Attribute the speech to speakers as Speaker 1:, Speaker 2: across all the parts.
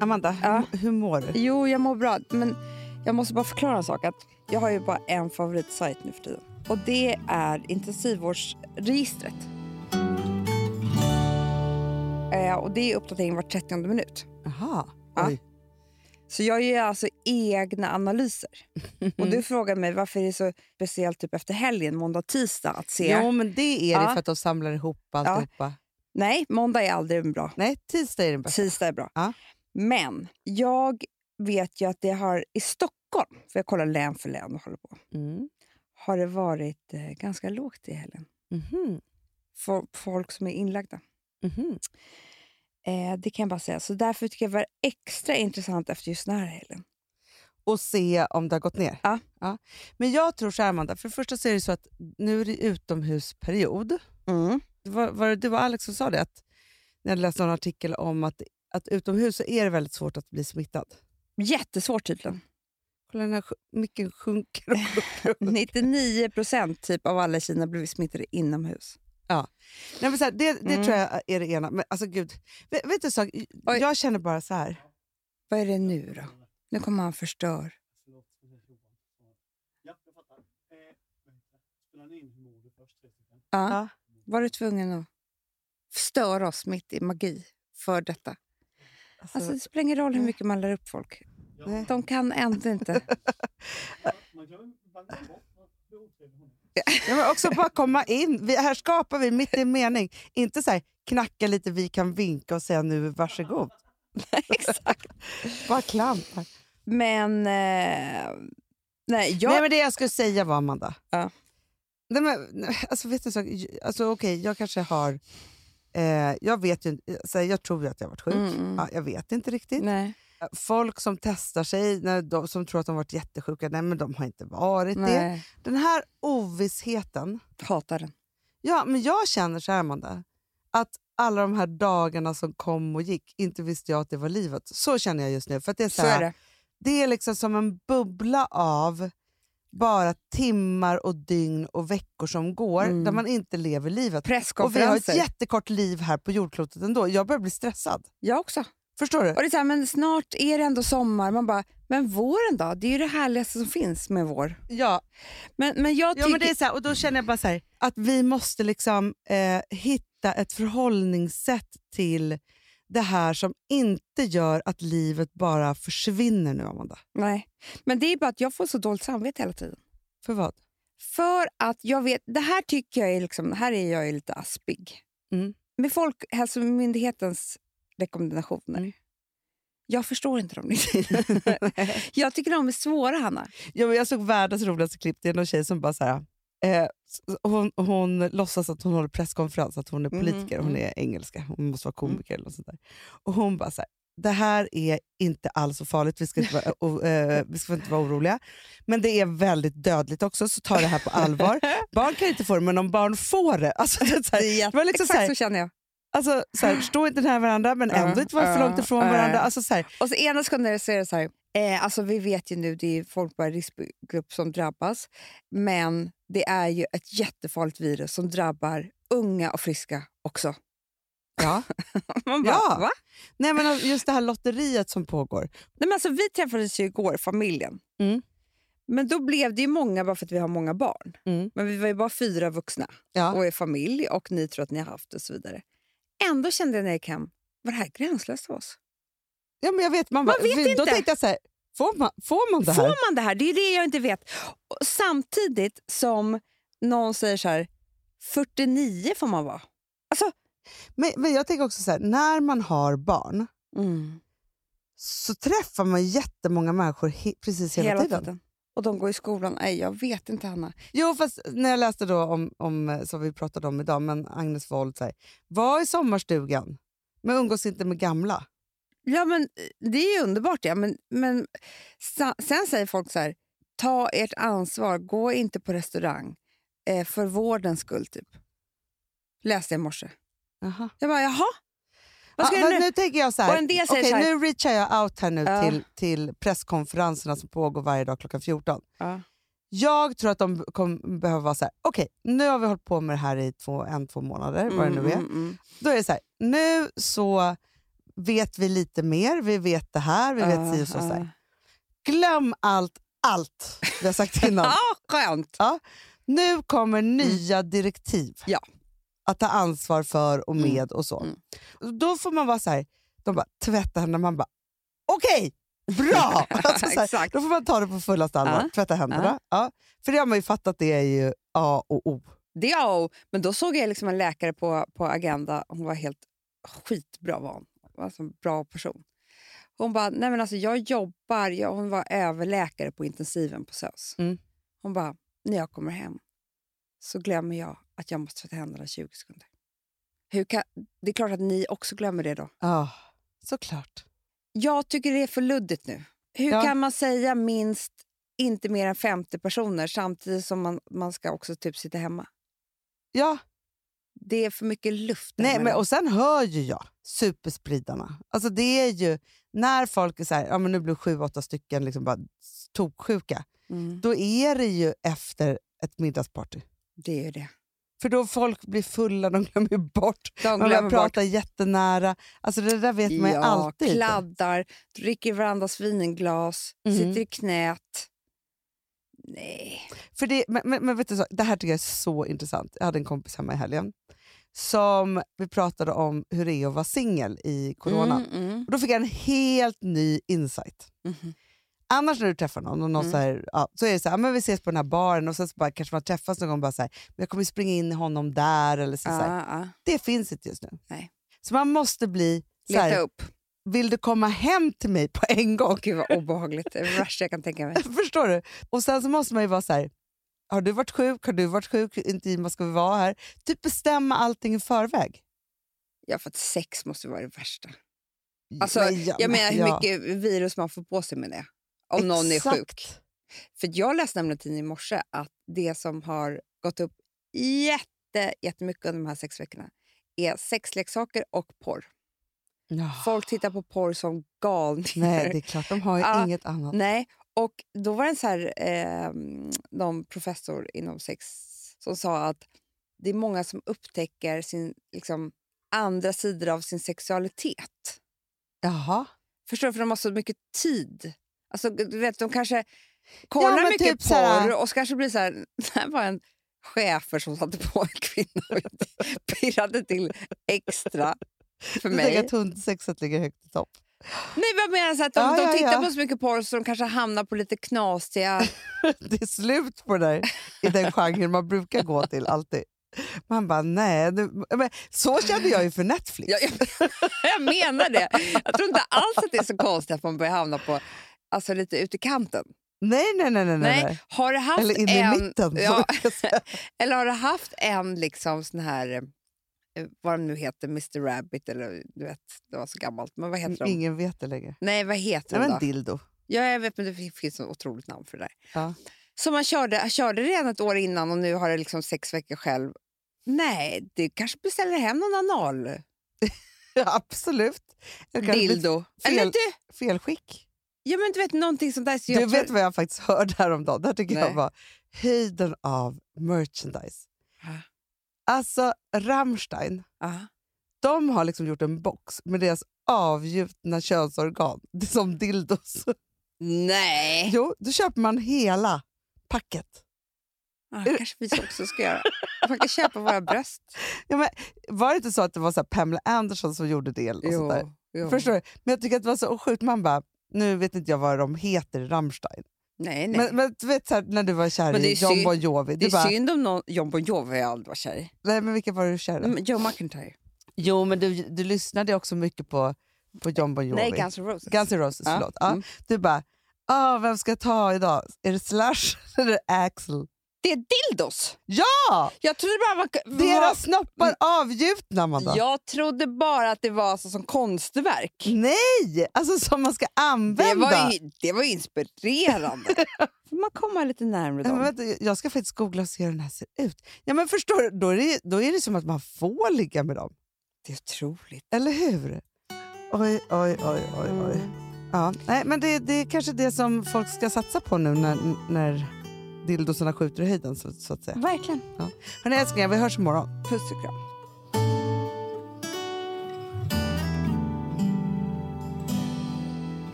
Speaker 1: Amanda,
Speaker 2: Ja.
Speaker 1: hur, hur mår du?
Speaker 2: Jo, jag mår bra. Men jag måste bara förklara en sak. Att jag har ju bara en favoritsajt nu för tiden. Och det är intensivvårdsregistret. Eh, och det är uppdatering var 30 minut.
Speaker 1: Jaha.
Speaker 2: Ja.
Speaker 1: Oj.
Speaker 2: Så jag gör alltså egna analyser. Och du frågar mig varför det är så speciellt typ efter helgen, måndag, tisdag att se.
Speaker 1: Jo, men det är det
Speaker 2: Ja.
Speaker 1: för att de samlar ihop alltihopa.
Speaker 2: Nej, måndag är aldrig bra.
Speaker 1: Nej, tisdag är den bästa.
Speaker 2: Tisdag är bra.
Speaker 1: Ja.
Speaker 2: Men jag vet ju att det har i Stockholm, för jag kollar län för län och håller på,
Speaker 1: Mm.
Speaker 2: har det varit eh, ganska lågt i helgen.
Speaker 1: Mhm,
Speaker 2: För folk som är inlagda.
Speaker 1: mhm.
Speaker 2: Eh, det kan jag bara säga. Så därför tycker jag det var extra intressant efter just den här helgen.
Speaker 1: Och se om det har gått ner.
Speaker 2: Ja.
Speaker 1: Ja. Men jag tror så här, Amanda. För det första så är det så att nu är det utomhusperiod. Det var, var det du och Alex som sa det? Att när jag läste en artikel om att, att utomhus så är det väldigt svårt att bli smittad.
Speaker 2: Jättesvårt tydligen.
Speaker 1: Kolla den här sj- micken sjunker och sjunker. och
Speaker 2: 99 procent typ av alla i Kina blev smittade inomhus.
Speaker 1: Nej, men så här, det det
Speaker 2: Mm.
Speaker 1: tror jag är det ena. Men alltså gud, vet, vet du en sak? Jag känner bara så här.
Speaker 2: Vad är det nu då? Nu kommer han förstör.
Speaker 3: Förlåt, vad heter Johan? Ja, jag fattar. Eh, vänta. Spelar ni in hur mår du först? Tre stycken.
Speaker 2: Ja.
Speaker 1: Ja.
Speaker 2: Var du tvungen att störa oss mitt i magi för detta?
Speaker 1: Alltså,
Speaker 2: Alltså, det spelar ingen roll hur mycket man lär upp folk.
Speaker 3: Ja,
Speaker 1: Nej.
Speaker 2: De kan ändå inte.
Speaker 3: Man glömmer man glömmer bort vad- hur otrevlig hon är.
Speaker 1: nej, men också bara komma in. Vi, här skapar vi mitt i en mening. Inte så här knacka lite, vi kan vinka och säga nu varsågod.
Speaker 2: Exakt.
Speaker 1: Bara klampar.
Speaker 2: Men... Eh, nej, jag...
Speaker 1: Nej men det jag skulle säga var Amanda.
Speaker 2: Ja.
Speaker 1: Nej, men, nej, alltså vet du en sak? Alltså okej, jag kanske har... Eh, jag vet ju inte- så här, jag tror ju att jag har varit sjuk.
Speaker 2: Mm, mm.
Speaker 1: Ja, jag vet inte riktigt.
Speaker 2: nej.
Speaker 1: Folk som testar sig, när de, som tror att de varit jättesjuka, nej men de har inte varit det.
Speaker 2: nej.
Speaker 1: Den här ovissheten.
Speaker 2: Hatar den.
Speaker 1: Ja, men jag känner så här, Amanda, att alla de här dagarna som kom och gick, inte visste jag att det var livet. Så känner jag just nu. För att det, är så
Speaker 2: Så
Speaker 1: här,
Speaker 2: är det.
Speaker 1: det är liksom som en bubbla av bara timmar och dygn och veckor som går
Speaker 2: Mm.
Speaker 1: där man inte lever livet. Och vi har ett
Speaker 2: Presskonferenser.
Speaker 1: jättekort liv här på jordklotet ändå. Jag börjar bli stressad.
Speaker 2: Jag också.
Speaker 1: Förstår du?
Speaker 2: Och det är så här, men snart är det ändå sommar. Man bara, men våren då? Det är ju det härligaste som finns med vår.
Speaker 1: Ja,
Speaker 2: Men, men jag
Speaker 1: Ja,
Speaker 2: tycker...
Speaker 1: men det är så här, och då känner jag bara så här, att vi måste liksom eh, hitta ett förhållningssätt till det här som inte gör att livet bara försvinner nu, Amanda.
Speaker 2: Nej. Men det är bara att jag får så dåligt samvete hela tiden.
Speaker 1: För vad?
Speaker 2: För att jag vet, det här tycker jag är liksom, det här är jag ju lite aspig.
Speaker 1: Mm.
Speaker 2: Med Folkhälsomyndighetens rekommendationer. Jag förstår inte dem riktigt. jag tycker de är svåra, Hanna.
Speaker 1: Ja, men jag såg världens roligaste klipp. Det är någon tjej som bara så här, eh, s- hon, hon låtsas att hon håller presskonferens, att hon är
Speaker 2: Mhm, Mm.
Speaker 1: politiker, hon är engelska, hon måste vara komiker eller något sånt där. Och hon bara så här, det här är inte alls så farligt, vi ska inte vara, o- eh, vi ska inte vara oroliga. Men det är väldigt dödligt också, så ta det här på allvar. Barn kan inte få det, men om barn får det. Alltså, det är så här, det var liksom
Speaker 2: Exakt
Speaker 1: så här,
Speaker 2: så känner jag.
Speaker 1: alltså, så här, stå inte nära varandra, men ändå inte vara för långt ifrån
Speaker 2: Ja, ja.
Speaker 1: varandra. Alltså, så här,
Speaker 2: Och så ena sekunden så är det så här, eh, alltså vi vet ju nu det är folk bara i riskgrupp som drabbas, men det är ju ett jättefarligt virus som drabbar unga och friska också.
Speaker 1: ja.
Speaker 2: Man bara,
Speaker 1: Ja.
Speaker 2: va?
Speaker 1: Nej, men just det här lotteriet som pågår.
Speaker 2: Nej, men alltså, vi träffades ju igår, familjen.
Speaker 1: Mm.
Speaker 2: Men då blev det ju många bara för att vi har många barn.
Speaker 1: Mm.
Speaker 2: Men vi var ju bara fyra vuxna
Speaker 1: Ja.
Speaker 2: och är familj och ni tror att ni har haft det och så vidare. Ändå kände jag när jag gick hem, var det här gränslöst av oss?
Speaker 1: Ja, men jag vet, man,
Speaker 2: Man
Speaker 1: bara-
Speaker 2: vet
Speaker 1: för Då
Speaker 2: inte.
Speaker 1: tänkte jag så här, får man, får man det här?
Speaker 2: Får man det här? Det är det jag inte vet. Och samtidigt som någon säger så här, 49 får man vara. Alltså,
Speaker 1: Men, men jag tänker också så här, när man har barn Mm. så träffar man jättemånga människor he, precis hela, tiden.
Speaker 2: Och de går i skolan. Nej, jag vet inte, Hanna.
Speaker 1: Jo, fast när jag läste då om, om eh, som vi pratade om idag, men Agnes Wold, så här, var i sommarstugan, men umgås inte med gamla.
Speaker 2: Ja, men, eh, det är ju underbart, ja. men, men sa, sen säger folk så här, ta ert ansvar, gå inte på restaurang eh, för vårdens skull, typ. Läste jag i morse.
Speaker 1: Jaha.
Speaker 2: Jag bara, jaha? Vad ska
Speaker 1: ja,
Speaker 2: jag
Speaker 1: Ah, nu?
Speaker 2: nu?
Speaker 1: nu tänker jag så här,
Speaker 2: Och en del säger
Speaker 1: okej,
Speaker 2: så här-
Speaker 1: nu reachar jag out här nu
Speaker 2: Ja.
Speaker 1: till, till presskonferenserna som pågår varje dag klockan 14.
Speaker 2: Ja.
Speaker 1: Jag tror att de kommer behöva vara så här, okej, nu har vi hållit på med det här i två, en, två månader, vad det nu är.
Speaker 2: mm.
Speaker 1: Då är det så här, nu så vet vi lite mer, vi vet det här, vi
Speaker 2: Ah,
Speaker 1: vet si och så. så här. Glöm allt, allt vi har sagt innan.
Speaker 2: Ja, ah. skönt!
Speaker 1: Nu kommer nya direktiv.
Speaker 2: Mm. Ja.
Speaker 1: Att ta ansvar för och
Speaker 2: Mm.
Speaker 1: med och så.
Speaker 2: Mm.
Speaker 1: Och Då får man vara så här, de bara tvätta händerna, man bara okej, bra! alltså, så här,
Speaker 2: Exakt.
Speaker 1: då får man ta det på fullaste allvar,
Speaker 2: Ja.
Speaker 1: tvätta händerna. Ja. För det har man ju fattat, det är ju A och O.
Speaker 2: Det är A och O. Men då såg jag liksom en läkare på, på Agenda. Hon var helt skitbra van. Alltså en bra person. Hon bara, nej men alltså jag jobbar. Jag, hon var överläkare på intensiven på SÖS.
Speaker 1: Mm.
Speaker 2: Hon bara, när jag kommer hem så glömmer jag att jag måste tvätta händerna i 20 sekunder. Hur kan, det är klart att ni också glömmer det då.
Speaker 1: Ja, såklart.
Speaker 2: Jag tycker det är för luddigt nu. Hur
Speaker 1: Ja.
Speaker 2: kan man säga minst inte mer än 50 personer samtidigt som man, man ska också typ sitta hemma?
Speaker 1: Ja.
Speaker 2: Det är för mycket luft.
Speaker 1: Nej,
Speaker 2: däremellan.
Speaker 1: men, och sen hör ju jag superspridarna. Alltså det är ju när folk är så här, ja, men nu blir sju, åtta stycken liksom bara toksjuka.
Speaker 2: Mm.
Speaker 1: Då är det ju efter ett middagsparty.
Speaker 2: Det är ju det.
Speaker 1: För då folk blir fulla, de glömmer ju bort.
Speaker 2: De
Speaker 1: Man börjar
Speaker 2: glömmer bort.
Speaker 1: prata jättenära. Alltså det där vet man ju alltid. inte.
Speaker 2: kladdar, dricker varandras vinglas,
Speaker 1: Mhm.
Speaker 2: sitter i knät. Nej.
Speaker 1: För det, men, men, men vet du, så, det här tycker jag är så intressant. Jag hade en kompis hemma i helgen som vi pratade om hur det är att vara singel i corona.
Speaker 2: Mm, mm,
Speaker 1: Och då fick jag en helt ny insight.
Speaker 2: mhm.
Speaker 1: Annars när du träffar någon och någon
Speaker 2: Mm.
Speaker 1: så, här, ja, så är det så här, "Ah, men vi ses på den här baren och sen så bara, kanske man träffas någon gång och bara så här, men jag kommer springa in i honom där eller så, så här.
Speaker 2: Ah, ah.
Speaker 1: Det finns inte just nu.
Speaker 2: Nej.
Speaker 1: Så man måste bli så
Speaker 2: Leta
Speaker 1: här,
Speaker 2: upp.
Speaker 1: vill du komma hem till mig på en gång?
Speaker 2: Gud vad obehagligt. Det är det värsta jag kan tänka mig.
Speaker 1: Förstår du? Och sen så måste man ju vara så här, har du varit sjuk? Har du varit sjuk? Hur Intima ska vi vara här? Typ bestämma allting i förväg.
Speaker 2: Ja, för att sex måste vara det värsta. Alltså,
Speaker 1: Men ja,
Speaker 2: Jag menar hur
Speaker 1: ja.
Speaker 2: mycket virus man får på sig med det. Om någon är
Speaker 1: Exakt.
Speaker 2: sjuk. För jag läste nämligen i tidningen i morse att det som har gått upp jätte, jättemycket under de här sex veckorna är sexleksaker och porr.
Speaker 1: Ja.
Speaker 2: Folk tittar på porr som galningar.
Speaker 1: Nej, det är klart. De har ju
Speaker 2: Ja.
Speaker 1: inget annat.
Speaker 2: Nej, och då var det en så här, eh, någon professor inom sex som sa att det är många som upptäcker sin, liksom, andra sidor av sin sexualitet.
Speaker 1: Jaha.
Speaker 2: Förstår du? För de har så mycket tid. Alltså, du vet, de kanske kollar
Speaker 1: men
Speaker 2: mycket
Speaker 1: typ så här-
Speaker 2: porr och så kanske blir så här, det här var en chefer som satte på en kvinna och pirrade till extra för
Speaker 1: Du tänker
Speaker 2: mig.
Speaker 1: att hundsexet ligger högt i topp.
Speaker 2: Nej, vad menar jag? så att de,
Speaker 1: Ja,
Speaker 2: de
Speaker 1: ja,
Speaker 2: tittar
Speaker 1: ja.
Speaker 2: på så mycket porr så de kanske hamnar på lite knasiga...
Speaker 1: det är slut på det där i den genren man brukar gå till alltid. Man bara, nej. Nu, men, så kände jag ju för Netflix.
Speaker 2: jag, jag, jag menar det. Jag tror inte alls att det är så konstigt att man börjar hamna på alltså, lite ut i kanten.
Speaker 1: Nej, nej, nej. nej, nej.
Speaker 2: Nej, har du haft
Speaker 1: Eller in
Speaker 2: en...
Speaker 1: i mitten. som
Speaker 2: Ja,
Speaker 1: jag brukar säga.
Speaker 2: Eller har du haft en liksom sån här, eh, vad de nu heter, Mr Rabbit eller du vet, det var så gammalt. Men vad heter de?
Speaker 1: Ingen vet det längre.
Speaker 2: Nej, vad heter
Speaker 1: Nej,
Speaker 2: de
Speaker 1: men
Speaker 2: då?
Speaker 1: dildo.
Speaker 2: Ja, jag vet, men det fin- finns ett otroligt namn för det där.
Speaker 1: Ja.
Speaker 2: Som man körde, jag körde redan ett år innan och nu har det liksom sex veckor själv. Nej, du kanske beställer hem någon anal
Speaker 1: Absolut. Det kanske blir
Speaker 2: dildo.
Speaker 1: fel-
Speaker 2: Eller du,
Speaker 1: Felskick.
Speaker 2: ja, men du vet någonting sånt där. Så
Speaker 1: Du
Speaker 2: jag
Speaker 1: vet
Speaker 2: tror-
Speaker 1: vad jag faktiskt hörde häromdagen? Det här tycker jag
Speaker 2: Nej.
Speaker 1: var höjden av merchandise.
Speaker 2: Ja.
Speaker 1: Alltså, Rammstein,
Speaker 2: Ja.
Speaker 1: de har liksom gjort en box med deras avgjutna könsorgan Det är som dildos.
Speaker 2: Nej,
Speaker 1: Jo, då köper man hela packet.
Speaker 2: ah, kanske vi också ska göra. Man kan köpa våra bröst.
Speaker 1: Ja, men, var det inte så att det var så här Pamela Anderson som gjorde det? Eller något sånt där?
Speaker 2: jo.
Speaker 1: Förstår du? Men jag tycker att det var så sjukt. Man bara, nu vet inte jag vad de heter i Rammstein.
Speaker 2: Nej, nej.
Speaker 1: Men, men du vet så här, när du var kär
Speaker 2: Men det
Speaker 1: i
Speaker 2: är
Speaker 1: John
Speaker 2: synd.
Speaker 1: Bon Jovi.
Speaker 2: Det
Speaker 1: Du
Speaker 2: är
Speaker 1: bara,
Speaker 2: synd om någon, John Bon Jovi har jag aldrig varit kär i.
Speaker 1: nej men vilka var du kär i?
Speaker 2: Men Joe McIntyre.
Speaker 1: Jo, men du, du lyssnade också mycket på, på John Bon Jovi.
Speaker 2: Nej, Guns N' Roses.
Speaker 1: Guns N' Roses.
Speaker 2: Ja,
Speaker 1: Förlåt. Ja.
Speaker 2: mm.
Speaker 1: Du bara, ah, vem ska jag ta idag? Är det Slash eller Axel?
Speaker 2: Det är dildos!
Speaker 1: Ja!
Speaker 2: Jag trodde bara, var,
Speaker 1: Deras
Speaker 2: Mm.
Speaker 1: snoppar avgjutna, Amanda.
Speaker 2: var, jag trodde bara att det var så som konstverk.
Speaker 1: Nej! Alltså som man ska
Speaker 2: Det
Speaker 1: använda.
Speaker 2: var, ju, det var ju inspirerande. Får man komma lite närmare
Speaker 1: Nej, men
Speaker 2: dem?
Speaker 1: vänta, jag- jag ska faktiskt googla och se hur den här ser ut. Ja, men förstår du, då är, det, då är det som att man får ligga med dem.
Speaker 2: Det är otroligt.
Speaker 1: Eller hur? Oj, oj, oj, oj, oj. Ja, nej, men det, det är kanske det som folk ska satsa på nu när, när dildosarna skjuter i höjden. Så, så att säga.
Speaker 2: Verkligen.
Speaker 1: Hörni älsklingar, vi hörs imorgon.
Speaker 2: Puss och kram.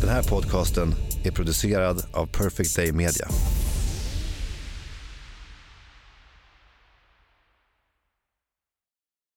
Speaker 4: Den här podcasten är producerad av Perfect Day Media.